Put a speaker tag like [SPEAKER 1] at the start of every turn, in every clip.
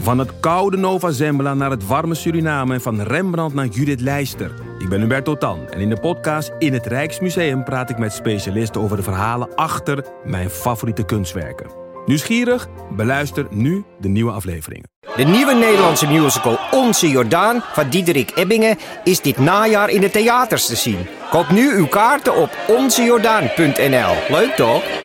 [SPEAKER 1] Van het koude Nova Zembla naar het warme Suriname en van Rembrandt naar Judith Leister. Ik ben Hubert Totan en in de podcast In het Rijksmuseum praat ik met specialisten over de verhalen achter mijn favoriete kunstwerken. Nieuwsgierig? Beluister nu de nieuwe afleveringen.
[SPEAKER 2] De nieuwe Nederlandse musical Onze Jordaan van Diederik Ebbingen is dit najaar in de theaters te zien. Koop nu uw kaarten op onzejordaan.nl. Leuk toch?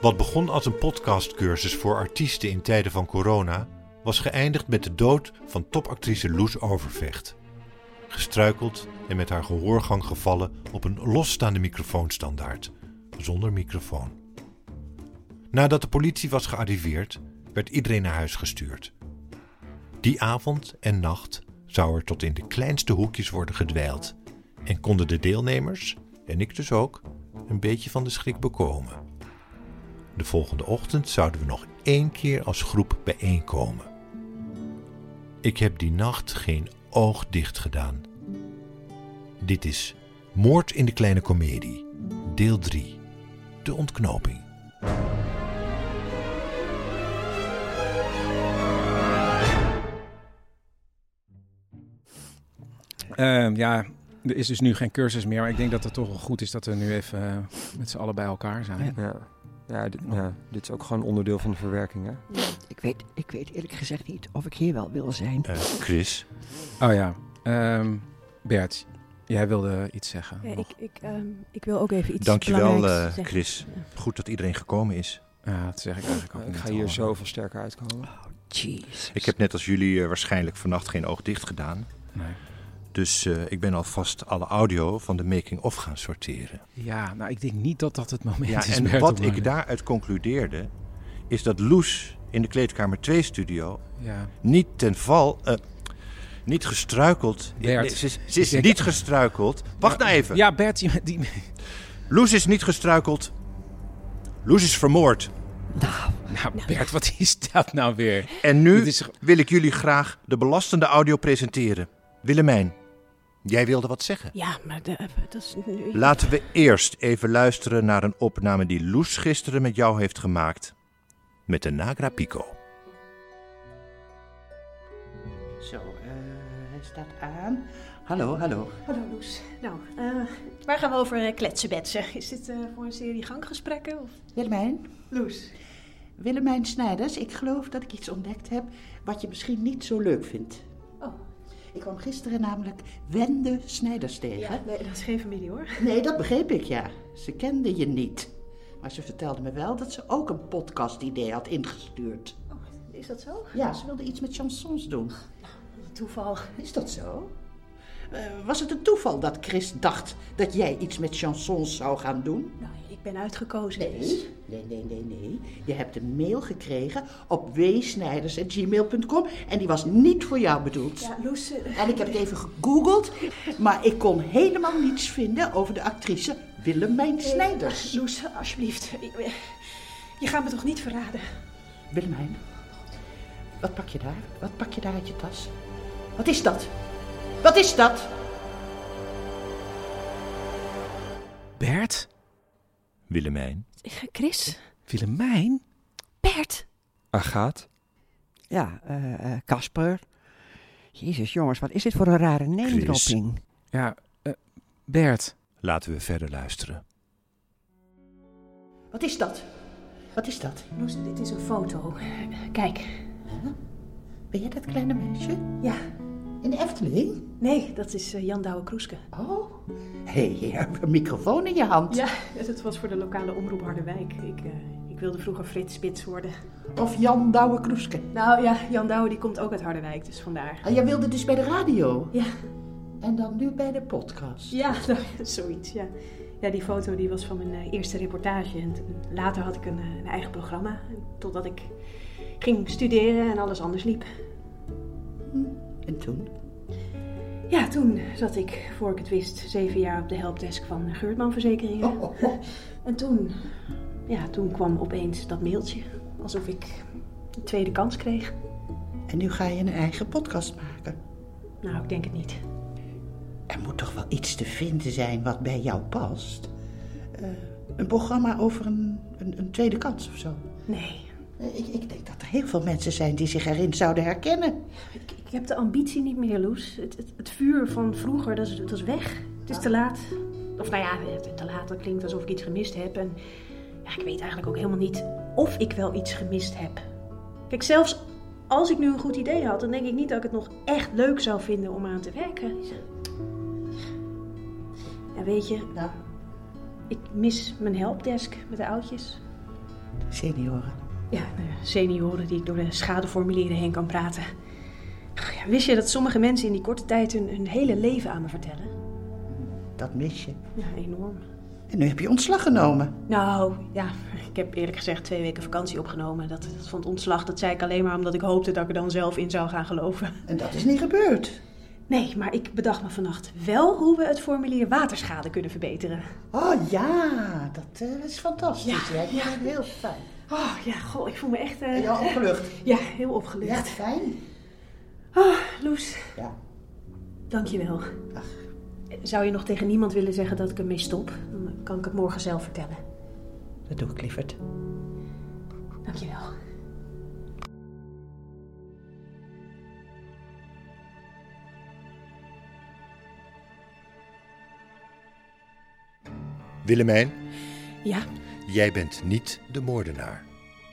[SPEAKER 3] Wat begon als een podcastcursus voor artiesten in tijden van corona, was geëindigd met de dood van topactrice Loes Overvecht. Gestruikeld en met haar gehoorgang gevallen op een losstaande microfoonstandaard, zonder microfoon. Nadat de politie was gearriveerd, werd iedereen naar huis gestuurd. Die avond en nacht zou er tot in de kleinste hoekjes worden gedweild en konden de deelnemers, en ik dus ook, een beetje van de schrik bekomen. De volgende ochtend zouden we nog één keer als groep bijeenkomen. Ik heb die nacht geen oog dicht gedaan. Dit is Moord in de Kleine Comedie, deel 3, de ontknoping.
[SPEAKER 4] Ehm, ja, er is dus nu geen cursus meer. Maar ik denk dat het toch wel goed is dat we nu even eh, met z'n allen bij elkaar zijn.
[SPEAKER 5] Ja. Ja, dit, ja, dit is ook gewoon onderdeel van de verwerking, hè?
[SPEAKER 6] Oh. Ik weet, ik weet eerlijk gezegd niet of ik hier wel wil zijn.
[SPEAKER 3] Eh, Chris,
[SPEAKER 4] Oh ja. Ehm, Bert, jij wilde iets zeggen.
[SPEAKER 7] Ja,
[SPEAKER 4] nog.
[SPEAKER 7] ik, ik, ehm, ik wil ook even iets
[SPEAKER 3] dankjewel
[SPEAKER 7] belangrijks
[SPEAKER 3] eh,
[SPEAKER 7] zeggen.
[SPEAKER 3] Chris. Goed dat iedereen gekomen is.
[SPEAKER 4] Ja, dat zeg ik eigenlijk ook
[SPEAKER 5] ik
[SPEAKER 4] niet
[SPEAKER 5] ga hier
[SPEAKER 4] al.
[SPEAKER 5] zoveel sterker uitkomen.
[SPEAKER 6] Jeez.
[SPEAKER 3] Ik heb net als jullie eh, waarschijnlijk vannacht geen oog dicht gedaan.
[SPEAKER 4] Nee.
[SPEAKER 3] Dus eh, ik ben alvast alle audio van de making-of gaan sorteren.
[SPEAKER 4] Ja, nou ik denk niet dat dat het moment
[SPEAKER 3] Ja,
[SPEAKER 4] is.
[SPEAKER 3] en
[SPEAKER 4] Bert,
[SPEAKER 3] wat
[SPEAKER 4] om, eh,
[SPEAKER 3] ik daaruit concludeerde, is dat Loes in de Kleedkamer 2-studio
[SPEAKER 4] Ja.
[SPEAKER 3] niet ten val... eh, niet gestruikeld.
[SPEAKER 4] Bert,
[SPEAKER 3] Nee, ze, is- ze is
[SPEAKER 4] ik-
[SPEAKER 3] niet gestruikeld. Wacht nou even.
[SPEAKER 4] ja, Bert, die, die- nou,
[SPEAKER 3] Loes is niet gestruikeld. Loes is vermoord.
[SPEAKER 4] nou, Bert, wat is dat nou weer?
[SPEAKER 3] En nu
[SPEAKER 4] Dit is-
[SPEAKER 3] wil ik jullie graag de belastende audio presenteren. Willemijn, jij wilde wat zeggen.
[SPEAKER 7] Ja, maar de- eh, dat is nu...
[SPEAKER 3] Laten we eerst even luisteren naar een opname die Loes gisteren met jou heeft gemaakt. Met de Nagra Pico.
[SPEAKER 8] Zo, eh, hij staat aan. Hallo, hallo.
[SPEAKER 7] Hallo Loes. Nou, waar gaan we over kletsen, betsen? Is dit voor een serie ganggesprekken? Of...
[SPEAKER 8] Willemijn?
[SPEAKER 7] Loes.
[SPEAKER 8] Willemijn Snijders, ik geloof dat ik iets ontdekt heb wat je misschien niet zo leuk vindt.
[SPEAKER 7] Oh,
[SPEAKER 8] Ik kwam gisteren namelijk Wende Snijders tegen.
[SPEAKER 7] ja, nee, dat is geen familie hoor.
[SPEAKER 8] Nee, dat begreep ik, ja. Ze kende je niet. Maar ze vertelde me wel dat ze ook een podcast-idee had ingestuurd.
[SPEAKER 7] Oh, is dat zo?
[SPEAKER 8] Ja, ze wilde iets met chansons doen.
[SPEAKER 7] Toeval.
[SPEAKER 8] Is dat zo? Eh, was het een toeval dat Chris dacht dat jij iets met chansons zou gaan doen?
[SPEAKER 7] Nou, ik ben uitgekozen. dus-
[SPEAKER 8] Nee, nee, nee, nee, nee. Je hebt een mail gekregen op wsnijders.gmail.com en die was niet voor jou bedoeld.
[SPEAKER 7] Ja, Loes, eh,
[SPEAKER 8] En ik heb het even gegoogeld, maar ik kon helemaal niets vinden over de actrice Willemijn Snijders.
[SPEAKER 7] Loes, alsjeblieft. Ik- Je gaat me toch niet verraden?
[SPEAKER 8] Willemijn, wat pak je daar? Wat pak je daar uit je tas? Wat is dat? Wat is dat?
[SPEAKER 4] Bert?
[SPEAKER 3] Willemijn.
[SPEAKER 7] Chris?
[SPEAKER 4] Willemijn?
[SPEAKER 7] Bert?
[SPEAKER 5] Agaat?
[SPEAKER 6] Ja, eh, eh, Casper. Jezus, jongens, wat is dit voor een rare neemdropping?
[SPEAKER 4] Ja, eh, Bert.
[SPEAKER 3] Laten we verder luisteren.
[SPEAKER 8] Wat is dat? Wat is dat?
[SPEAKER 7] Loes, dit is een foto. Kijk.
[SPEAKER 8] Ben jij dat kleine meisje?
[SPEAKER 7] Ja.
[SPEAKER 8] In de Efteling?
[SPEAKER 7] Nee, dat is eh, Jan Douwe Kroeske.
[SPEAKER 8] Oh, hé, je hebt een microfoon in je hand.
[SPEAKER 7] Ja, dat was voor de lokale omroep Harderwijk. Ik, eh, ik wilde vroeger Frits Spits worden.
[SPEAKER 8] Of Jan Douwe Kroeske.
[SPEAKER 7] Nou ja, Jan Douwe die komt ook uit Harderwijk, dus vandaar.
[SPEAKER 8] Ah, jij wilde dus bij de radio.
[SPEAKER 7] Ja,
[SPEAKER 8] En dan nu bij de podcast.
[SPEAKER 7] ja, nou, zoiets, ja. Ja, die foto die was van mijn eh, eerste reportage. En toen- later had ik een, eh, een eigen programma. Totdat ik ging studeren en alles anders liep.
[SPEAKER 8] En toen?
[SPEAKER 7] Ja, toen zat ik, voor ik het wist, zeven jaar op de helpdesk van Geurtman Verzekeringen.
[SPEAKER 8] Oh, oh, oh.
[SPEAKER 7] En toen, ja, toen kwam opeens dat mailtje. Alsof ik een tweede kans kreeg.
[SPEAKER 8] En nu ga je een eigen podcast maken.
[SPEAKER 7] Nou, ik denk het niet.
[SPEAKER 8] Er moet toch wel iets te vinden zijn wat bij jou past? Eh, een programma over een een, een tweede kans of zo.
[SPEAKER 7] Nee,
[SPEAKER 8] Eh, Ik, ik denk dat er heel veel mensen zijn die zich erin zouden herkennen.
[SPEAKER 7] ik, ik heb de ambitie niet meer, Loes. Het, het, het vuur van vroeger, dat is, dat is weg. Het is te laat. Of nou ja, te laat, dat klinkt alsof ik iets gemist heb. En ja, ik weet eigenlijk ook helemaal niet of ik wel iets gemist heb. Kijk, zelfs als ik nu een goed idee had, dan denk ik niet dat ik het nog echt leuk zou vinden om aan te werken. En weet je,
[SPEAKER 8] Nou,
[SPEAKER 7] ik mis mijn helpdesk met de oudjes.
[SPEAKER 8] senioren.
[SPEAKER 7] Ja, de senioren die ik door de schadeformulieren heen kan praten. Ach ja, wist je dat sommige mensen in die korte tijd hun, hun hele leven aan me vertellen?
[SPEAKER 8] Dat mis je.
[SPEAKER 7] Ja, enorm.
[SPEAKER 8] En nu heb je ontslag genomen.
[SPEAKER 7] Nou, ja, ik heb eerlijk gezegd twee weken vakantie opgenomen. Dat, dat van het ontslag, dat zei ik alleen maar omdat ik hoopte dat ik er dan zelf in zou gaan geloven.
[SPEAKER 8] En dat is niet gebeurd.
[SPEAKER 7] Nee, maar ik bedacht me vannacht wel hoe we het formulier waterschade kunnen verbeteren.
[SPEAKER 8] Oh ja, dat eh, is fantastisch.
[SPEAKER 7] Ja,
[SPEAKER 8] hè? ja. heel fijn.
[SPEAKER 7] Oh ja, goh, ik voel me echt... eh,
[SPEAKER 8] Ja, opgelucht.
[SPEAKER 7] ja, heel
[SPEAKER 8] Ja,
[SPEAKER 7] opgelucht.
[SPEAKER 8] fijn.
[SPEAKER 7] Ah, Loes,
[SPEAKER 8] Ja.
[SPEAKER 7] dankjewel.
[SPEAKER 8] Ach.
[SPEAKER 7] Zou je nog tegen niemand willen zeggen dat ik ermee stop? Dan kan ik het morgen zelf vertellen.
[SPEAKER 8] Dat doe ik, Clifford.
[SPEAKER 7] Dankjewel.
[SPEAKER 3] Willemijn,
[SPEAKER 7] Ja,
[SPEAKER 3] jij bent niet de moordenaar.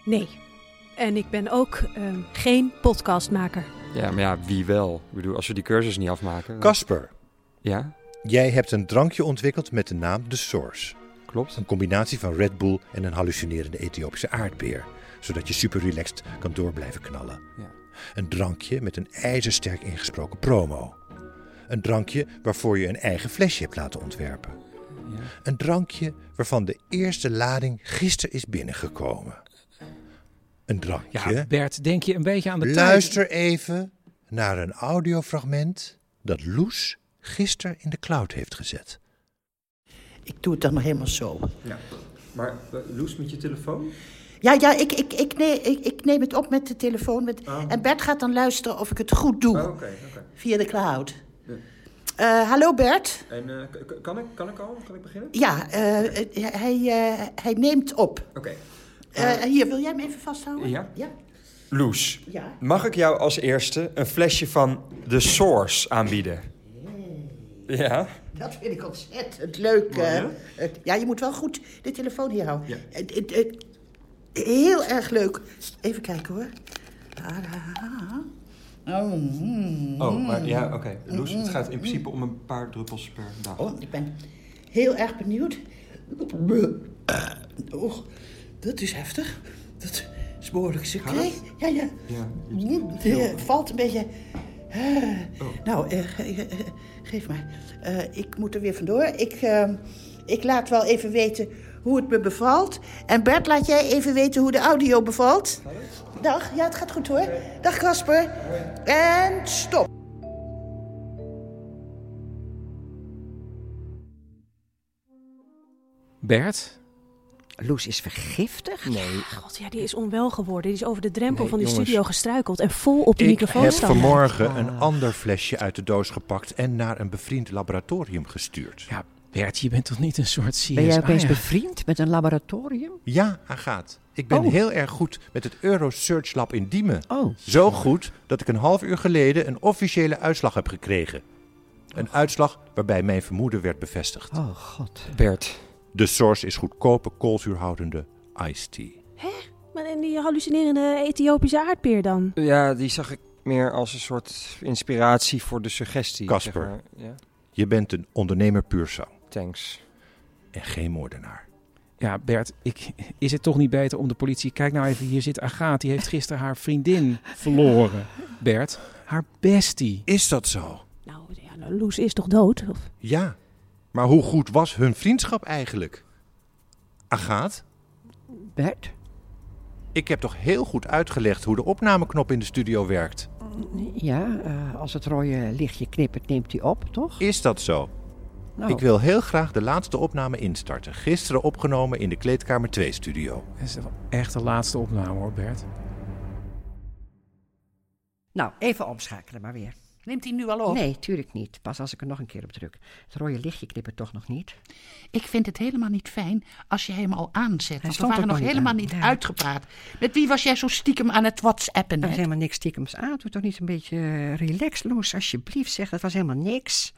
[SPEAKER 7] nee. En ik ben ook ehm, geen podcastmaker.
[SPEAKER 5] Ja, maar ja, wie wel? Ik bedoel, als we die cursus niet afmaken... dan-
[SPEAKER 3] Casper,
[SPEAKER 5] Ja,
[SPEAKER 3] jij hebt een drankje ontwikkeld met de naam The Source.
[SPEAKER 5] klopt.
[SPEAKER 3] Een combinatie van Red Bull en een hallucinerende Ethiopische aardbeer. Zodat je super relaxed kan door blijven knallen.
[SPEAKER 5] Ja.
[SPEAKER 3] Een drankje met een ijzersterk ingesproken promo. Een drankje waarvoor je een eigen flesje hebt laten ontwerpen.
[SPEAKER 5] Ja.
[SPEAKER 3] Een drankje waarvan de eerste lading gisteren is binnengekomen. Een
[SPEAKER 4] Ja,
[SPEAKER 3] drankje.
[SPEAKER 4] Bert, denk je een beetje aan de tijd?
[SPEAKER 3] Luister even naar een audiofragment dat Loes gisteren in de cloud heeft gezet.
[SPEAKER 8] Ik doe het dan maar helemaal zo.
[SPEAKER 5] Ja. Maar eh, Loes met je telefoon?
[SPEAKER 8] Ja, ja, ik, ik, ik, nee, ik, ik neem het op met de telefoon. Met,
[SPEAKER 5] Ah.
[SPEAKER 8] En Bert gaat dan luisteren of ik het goed doe.
[SPEAKER 5] oké.
[SPEAKER 8] Via de cloud.
[SPEAKER 5] Oh. Ja.
[SPEAKER 8] Eh, hallo Bert.
[SPEAKER 5] En eh, kan, ik, kan ik al? Kan ik beginnen?
[SPEAKER 8] Ja, eh, eh, hij, eh, hij neemt op.
[SPEAKER 5] Oké.
[SPEAKER 8] Eh, hier, wil jij hem even vasthouden?
[SPEAKER 5] Ah. Ja.
[SPEAKER 8] Ja.
[SPEAKER 5] Loes,
[SPEAKER 8] ja.
[SPEAKER 5] mag ik jou als eerste een flesje van The Source aanbieden? Ja?
[SPEAKER 8] Dat vind ik ontzettend leuk. eh. Het- ja, je moet wel goed de telefoon hier houden.
[SPEAKER 5] Ja.
[SPEAKER 8] Het- het- het- heel erg leuk. Even kijken hoor. Ah, ah. Oh, mm.
[SPEAKER 5] Oh, maar ja, oké. Loes, het gaat in principe om een paar druppels per dag.
[SPEAKER 8] Oh, ik ben heel erg benieuwd. Oh, dat is heftig. Dat is behoorlijk
[SPEAKER 5] Gaat
[SPEAKER 8] succes.
[SPEAKER 5] het?
[SPEAKER 8] Ja, ja.
[SPEAKER 5] Ja.
[SPEAKER 8] Het eh, valt een beetje. eh.
[SPEAKER 5] Oh.
[SPEAKER 8] Nou, eh, ge- ge- ge- geef maar. Eh, ik moet er weer vandoor. Ik, eh, ik laat wel even weten hoe het me bevalt. En Bert, laat jij even weten hoe de audio bevalt. Dag, ja, het gaat goed hoor. Dag, Kasper. En stop.
[SPEAKER 4] Bert?
[SPEAKER 6] Loes is vergiftigd?
[SPEAKER 7] God, ja, die is onwel geworden. Die is over de drempel
[SPEAKER 5] Nee,
[SPEAKER 7] van die
[SPEAKER 5] jongens.
[SPEAKER 7] studio gestruikeld en vol op de
[SPEAKER 3] Ik
[SPEAKER 7] microfoon
[SPEAKER 3] heb
[SPEAKER 7] staan.
[SPEAKER 3] vanmorgen
[SPEAKER 6] eh,
[SPEAKER 3] een ander flesje uit de doos gepakt en naar een bevriend laboratorium gestuurd.
[SPEAKER 4] Ja, Bert, je bent toch niet een soort CSI?
[SPEAKER 6] Ben jij opeens
[SPEAKER 4] ja.
[SPEAKER 6] bevriend met een laboratorium?
[SPEAKER 3] Ja, Agaat, ik ben
[SPEAKER 6] Oh.
[SPEAKER 3] heel erg goed met het Eurosearch Lab in Diemen.
[SPEAKER 6] Oh.
[SPEAKER 3] Zo goed dat ik een half uur geleden een officiële uitslag heb gekregen. Een uitslag waarbij mijn vermoeden werd bevestigd.
[SPEAKER 6] Oh, god.
[SPEAKER 5] Bert.
[SPEAKER 3] De source is goedkope, koolzuurhoudende iced tea.
[SPEAKER 7] Maar en die hallucinerende Ethiopische aardbeer dan?
[SPEAKER 5] Ja, die zag ik meer als een soort inspiratie voor de suggestie.
[SPEAKER 3] Casper.
[SPEAKER 5] zeg maar. Ja,
[SPEAKER 3] Je bent een ondernemer puur zo
[SPEAKER 5] thanks.
[SPEAKER 3] en geen moordenaar.
[SPEAKER 4] Ja, Bert, ik, is het toch niet beter om de politie... Kijk nou even, hier zit Agathe, die heeft gisteren haar vriendin verloren. Bert, haar bestie.
[SPEAKER 3] Is dat zo?
[SPEAKER 7] Nou, ja, Loes is toch dood? Of...
[SPEAKER 3] Ja. Maar hoe goed was hun vriendschap eigenlijk? Agaat,
[SPEAKER 6] Bert?
[SPEAKER 3] ik heb toch heel goed uitgelegd hoe de opnameknop in de studio werkt.
[SPEAKER 6] Ja, eh, als het rode lichtje knippert, neemt hij op, toch?
[SPEAKER 3] Is dat zo?
[SPEAKER 6] Nou,
[SPEAKER 3] Ik wil heel graag de laatste opname instarten. Gisteren opgenomen in de Kleedkamer 2 studio.
[SPEAKER 4] Dat is wel echt de laatste opname hoor, Bert.
[SPEAKER 6] nou, even omschakelen maar weer.
[SPEAKER 8] Neemt hij nu al op?
[SPEAKER 7] Nee, tuurlijk niet. Pas als ik er nog een keer op druk. Het rode lichtje knippert toch nog niet.
[SPEAKER 8] Ik vind het helemaal niet fijn als je hem al aanzet. want we
[SPEAKER 7] stond
[SPEAKER 8] waren
[SPEAKER 7] ook
[SPEAKER 8] nog
[SPEAKER 7] al niet
[SPEAKER 8] helemaal
[SPEAKER 7] aan.
[SPEAKER 8] niet
[SPEAKER 7] Ja.
[SPEAKER 8] uitgepraat. Met wie was jij zo stiekem aan het whatsappen?
[SPEAKER 7] Er is
[SPEAKER 8] net?
[SPEAKER 7] helemaal niks stiekems aan. Doe toch niet een beetje eh, relaxed, Loes, alsjeblieft. Zeg, dat was helemaal niks.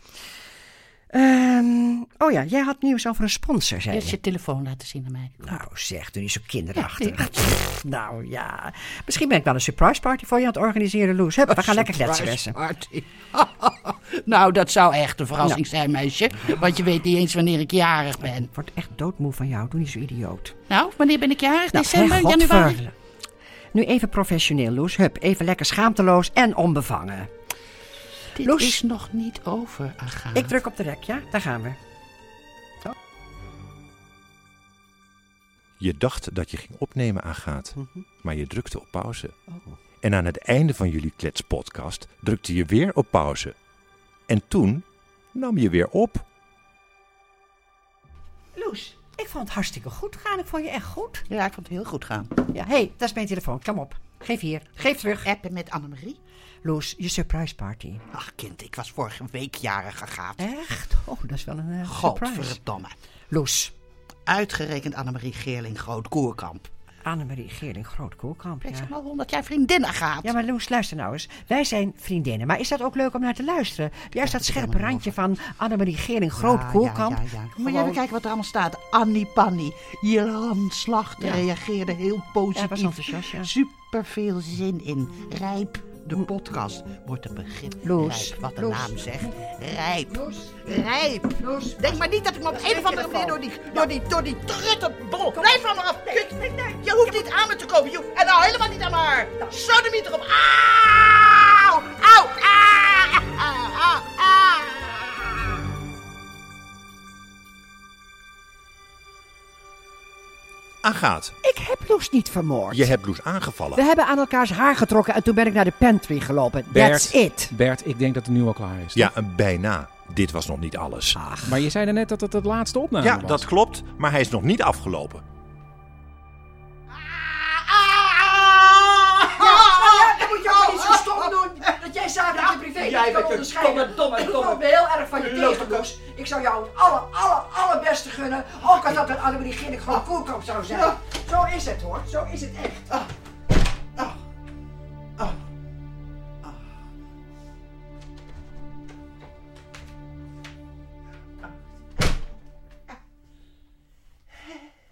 [SPEAKER 7] Ehm, oh ja, jij had nieuws over een sponsor,
[SPEAKER 8] Je
[SPEAKER 7] zei
[SPEAKER 8] hebt
[SPEAKER 7] je.
[SPEAKER 8] je telefoon laten zien aan mij.
[SPEAKER 7] Nou zeg, doe niet zo kinderachtig. Pff, nou ja, misschien ben ik wel een surprise party voor je aan het organiseren, Loes. Hup, we gaan lekker kletsen.
[SPEAKER 8] Surprise
[SPEAKER 7] Wessen.
[SPEAKER 8] party. nou, dat zou echt een verrassing zijn, meisje. Want je weet niet eens wanneer ik jarig ben.
[SPEAKER 7] Wordt echt doodmoe van jou, doe niet zo idioot.
[SPEAKER 8] Nou, wanneer ben ik jarig?
[SPEAKER 7] Nou,
[SPEAKER 8] December,
[SPEAKER 7] hè,
[SPEAKER 8] januari?
[SPEAKER 7] godver. Nu even professioneel, Loes. Hup, even lekker schaamteloos en onbevangen.
[SPEAKER 8] Dit
[SPEAKER 7] Loes.
[SPEAKER 8] is nog niet over, Agatha.
[SPEAKER 7] Ik druk op de rek, ja? Daar gaan we.
[SPEAKER 3] Je dacht dat je ging opnemen aan gaat,
[SPEAKER 6] Mhm.
[SPEAKER 3] maar je drukte op pauze.
[SPEAKER 6] Oh.
[SPEAKER 3] En aan het einde van jullie kletspodcast drukte je weer op pauze. En toen nam je weer op.
[SPEAKER 7] Loes, ik vond het hartstikke goed gaan. Ik vond je echt goed.
[SPEAKER 8] Ja, ik vond het heel goed gaan.
[SPEAKER 7] Ja, hé, hey, dat is mijn telefoon. Kom op. Geef hier. Geef terug.
[SPEAKER 8] Appen met Annemarie.
[SPEAKER 7] Loes, je surprise party.
[SPEAKER 8] Ach, kind, ik was vorige week jarig gegaan.
[SPEAKER 7] Echt? Oh, dat is wel een eh, surprise.
[SPEAKER 8] Godverdomme.
[SPEAKER 7] Loes,
[SPEAKER 8] Uitgerekend Annemarie Geerling Groot-Koerkamp.
[SPEAKER 7] Annemarie Geerling, Groot Koelkamp.
[SPEAKER 8] Ik
[SPEAKER 7] Ja.
[SPEAKER 8] zeg maar 100 jaar vriendinnen gaat.
[SPEAKER 7] ja, maar Loes, luister nou eens. Wij zijn vriendinnen, maar is dat ook leuk om naar te luisteren? Juist dat scherpe randje van Annemarie Geerling, Groot Koelkamp.
[SPEAKER 8] Moet je even kijken wat er allemaal staat. Annie Pannie. Jelan Slachter
[SPEAKER 7] Ja.
[SPEAKER 8] reageerde heel
[SPEAKER 7] Ja, was
[SPEAKER 8] positief.
[SPEAKER 7] enthousiast, ja.
[SPEAKER 8] Super veel zin in. Rijp, de podcast. Wordt een begrip.
[SPEAKER 7] Loes,
[SPEAKER 8] Rijp, wat de
[SPEAKER 7] Loes.
[SPEAKER 8] naam zegt. Rijp. Rijp. Denk maar niet dat ik me op een of andere manier door die, door die, door die truttenbol... Blijf van me af, kut. Je hoeft niet aan me te komen. Je hoeft- en nou helemaal niet aan me haar. Zo de mieter op. Auw. Auw. Ah. Ah. Ah. Ah.
[SPEAKER 3] Aangaat,
[SPEAKER 7] Ik heb Loes niet vermoord.
[SPEAKER 3] je hebt Loes
[SPEAKER 7] We
[SPEAKER 3] aangevallen.
[SPEAKER 7] hebben aan elkaars haar getrokken en toen ben ik naar de pantry gelopen.
[SPEAKER 4] Bert.
[SPEAKER 7] That's it.
[SPEAKER 4] Bert, ik denk dat het nu al klaar is.
[SPEAKER 3] Ja, een bijna. Dit was nog niet alles.
[SPEAKER 4] Maar je zei net dat het het laatste opname
[SPEAKER 3] Ja,
[SPEAKER 4] was.
[SPEAKER 3] dat klopt, maar hij is nog niet afgelopen.
[SPEAKER 7] Ja, dat moet je ook niet zo stom doen. Dat jij zaken je privé
[SPEAKER 8] jij
[SPEAKER 7] niet kan
[SPEAKER 8] bent een
[SPEAKER 7] onderscheiden.
[SPEAKER 8] domme, domme,
[SPEAKER 7] Ik
[SPEAKER 8] domme
[SPEAKER 7] vond me heel erg van je tegen, Loes. Ik zou jou het alle, alle, allerbeste gunnen. Ook als dat een Annemarie Ginnik gewoon
[SPEAKER 8] Ah.
[SPEAKER 7] koelkamp zou zijn. Zo is het hoor, zo is het echt.
[SPEAKER 8] Ah.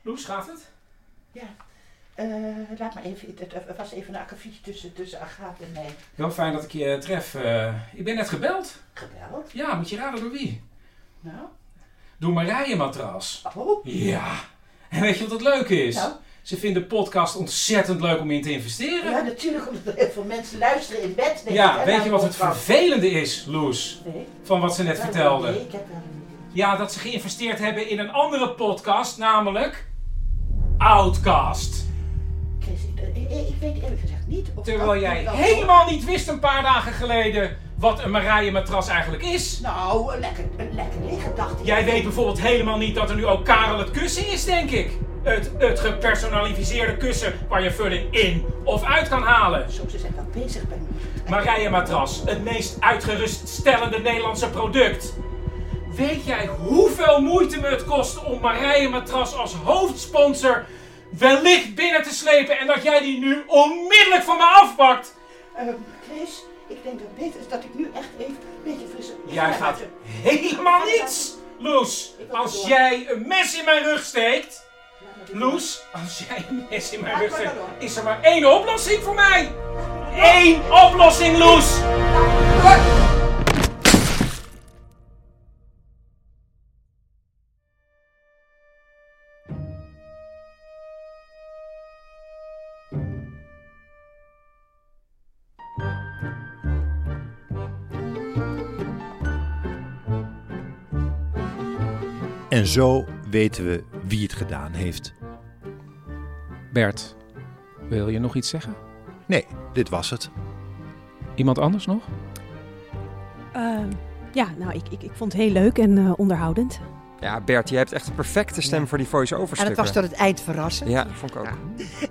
[SPEAKER 4] Loes, gaat het?
[SPEAKER 9] Eh, laat maar even, het- het het was even een akkefietje tussen, tussen Agathe en mij.
[SPEAKER 4] Heel fijn dat ik je eh, tref. Eh, ik ben net gebeld.
[SPEAKER 9] Gebeld?
[SPEAKER 4] Ja, moet je raden door wie?
[SPEAKER 9] Nou?
[SPEAKER 4] Door Marije Matras.
[SPEAKER 9] Oh,
[SPEAKER 4] Ja. En weet je wat het leuke is?
[SPEAKER 9] Nou?
[SPEAKER 4] Ze vinden de podcast ontzettend leuk om in te investeren.
[SPEAKER 9] ja, natuurlijk, omdat er heel veel mensen luisteren in bed. denk ik,
[SPEAKER 4] Ja,
[SPEAKER 9] hè,
[SPEAKER 4] weet je
[SPEAKER 9] naar
[SPEAKER 4] wat
[SPEAKER 9] de
[SPEAKER 4] het
[SPEAKER 9] podcast.
[SPEAKER 4] vervelende is, Loes?
[SPEAKER 9] nou, Nee.
[SPEAKER 4] Van wat ze net
[SPEAKER 9] Nou, Nee,
[SPEAKER 4] vertelde.
[SPEAKER 9] ik heb wel-
[SPEAKER 4] Ja, dat ze geïnvesteerd hebben in een andere podcast, namelijk... Outcast.
[SPEAKER 9] Chris, ik, eh, ik- ik weet eerlijk gezegd niet of...
[SPEAKER 4] Terwijl
[SPEAKER 9] Oh, dat-
[SPEAKER 4] jij
[SPEAKER 9] dat-
[SPEAKER 4] helemaal niet wist een paar dagen geleden wat een Marije Matras eigenlijk is.
[SPEAKER 9] Nou, een lekker, een lekker liggen, dacht ik.
[SPEAKER 4] Jij weet bijvoorbeeld helemaal niet dat er nu ook Karel het kussen is, denk ik. Het, het gepersonaliseerde kussen waar je vulling in of uit kan halen.
[SPEAKER 9] Zo, ze zijn wel bezig bij me.
[SPEAKER 4] Marije Matras, het meest uitgeruststellende Nederlandse product. Weet jij hoeveel moeite me het kost om Marije Matras als hoofdsponsor wellicht binnen te slepen en dat jij die nu onmiddellijk van me afpakt?
[SPEAKER 9] Ehm, Chris, ik denk dat het beter is dat ik nu echt even een beetje frisse...
[SPEAKER 4] Jij gaat helemaal niets, Loes. Als jij een mes in mijn rug steekt, Loes, als jij een mes in mijn rug steekt, is er maar één oplossing voor mij. Eén oplossing, Loes.
[SPEAKER 3] En zo weten we wie het gedaan heeft.
[SPEAKER 4] Bert, wil je nog iets zeggen?
[SPEAKER 3] Nee, dit was het.
[SPEAKER 4] Iemand anders nog?
[SPEAKER 10] Ehm, ja, nou, ik, ik, ik vond het heel leuk en eh, onderhoudend.
[SPEAKER 6] Ja, Bert, je hebt echt een perfecte stem voor die voice-over
[SPEAKER 7] En het was tot het eind verrassend.
[SPEAKER 6] Ja, vond ik ook.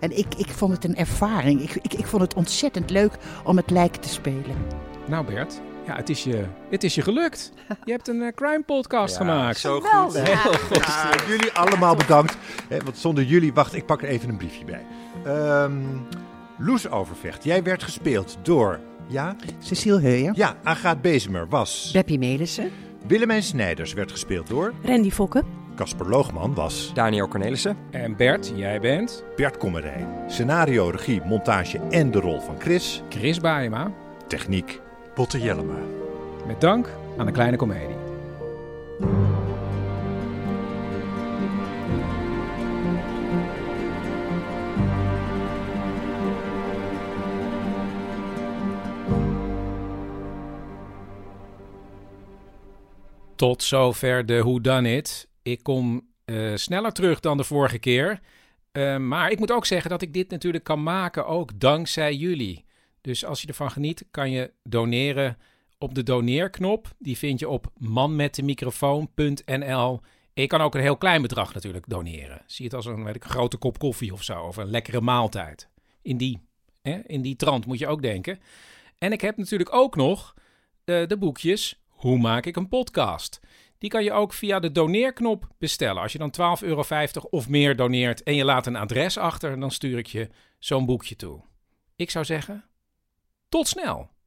[SPEAKER 8] En ik, ik vond het een ervaring. Ik, ik, ik vond het ontzettend leuk om het lijk te spelen.
[SPEAKER 4] Nou Bert, Ja, het is je, het is je gelukt. Je hebt een eh, crime podcast gemaakt.
[SPEAKER 3] Zo goed. Heel goed. Eh, jullie allemaal bedankt. Hè, want zonder jullie... Wacht, ik pak er even een briefje bij. Ehm Loes Overvecht, jij werd gespeeld door... Ja?
[SPEAKER 8] Cecile Heuijer.
[SPEAKER 3] Ja, Agaat Bezemer was...
[SPEAKER 11] Beppie Melissen.
[SPEAKER 3] Willemijn Snijders werd gespeeld door...
[SPEAKER 10] Randy Fokke.
[SPEAKER 3] Casper Loogman was...
[SPEAKER 6] Daniel Cornelissen.
[SPEAKER 4] En Bert, jij bent
[SPEAKER 3] Bert Kommerij. Scenario, regie, montage en de rol van Chris.
[SPEAKER 4] Chris Baema.
[SPEAKER 3] Techniek.
[SPEAKER 12] Botte Jellema.
[SPEAKER 4] Met dank aan de kleine komedie. Tot zover de Who Done It. Ik kom eh, sneller terug dan de vorige keer. Eh, maar ik moet ook zeggen dat ik dit natuurlijk kan maken ook dankzij jullie. Dus als je ervan geniet, kan je doneren op de doneerknop. Die vind je op manmetdemicrofoon.nl. En je kan ook een heel klein bedrag natuurlijk doneren. Zie het als een, weet ik, grote kop koffie of zo. Of een lekkere maaltijd. In die, hè, in die trant moet je ook denken. En ik heb natuurlijk ook nog eh, de boekjes Hoe maak ik een podcast? Die kan je ook via de doneerknop bestellen. Als je dan 12,50 euro of meer doneert en je laat een adres achter, dan stuur ik je zo'n boekje toe. Ik zou zeggen, tot snel!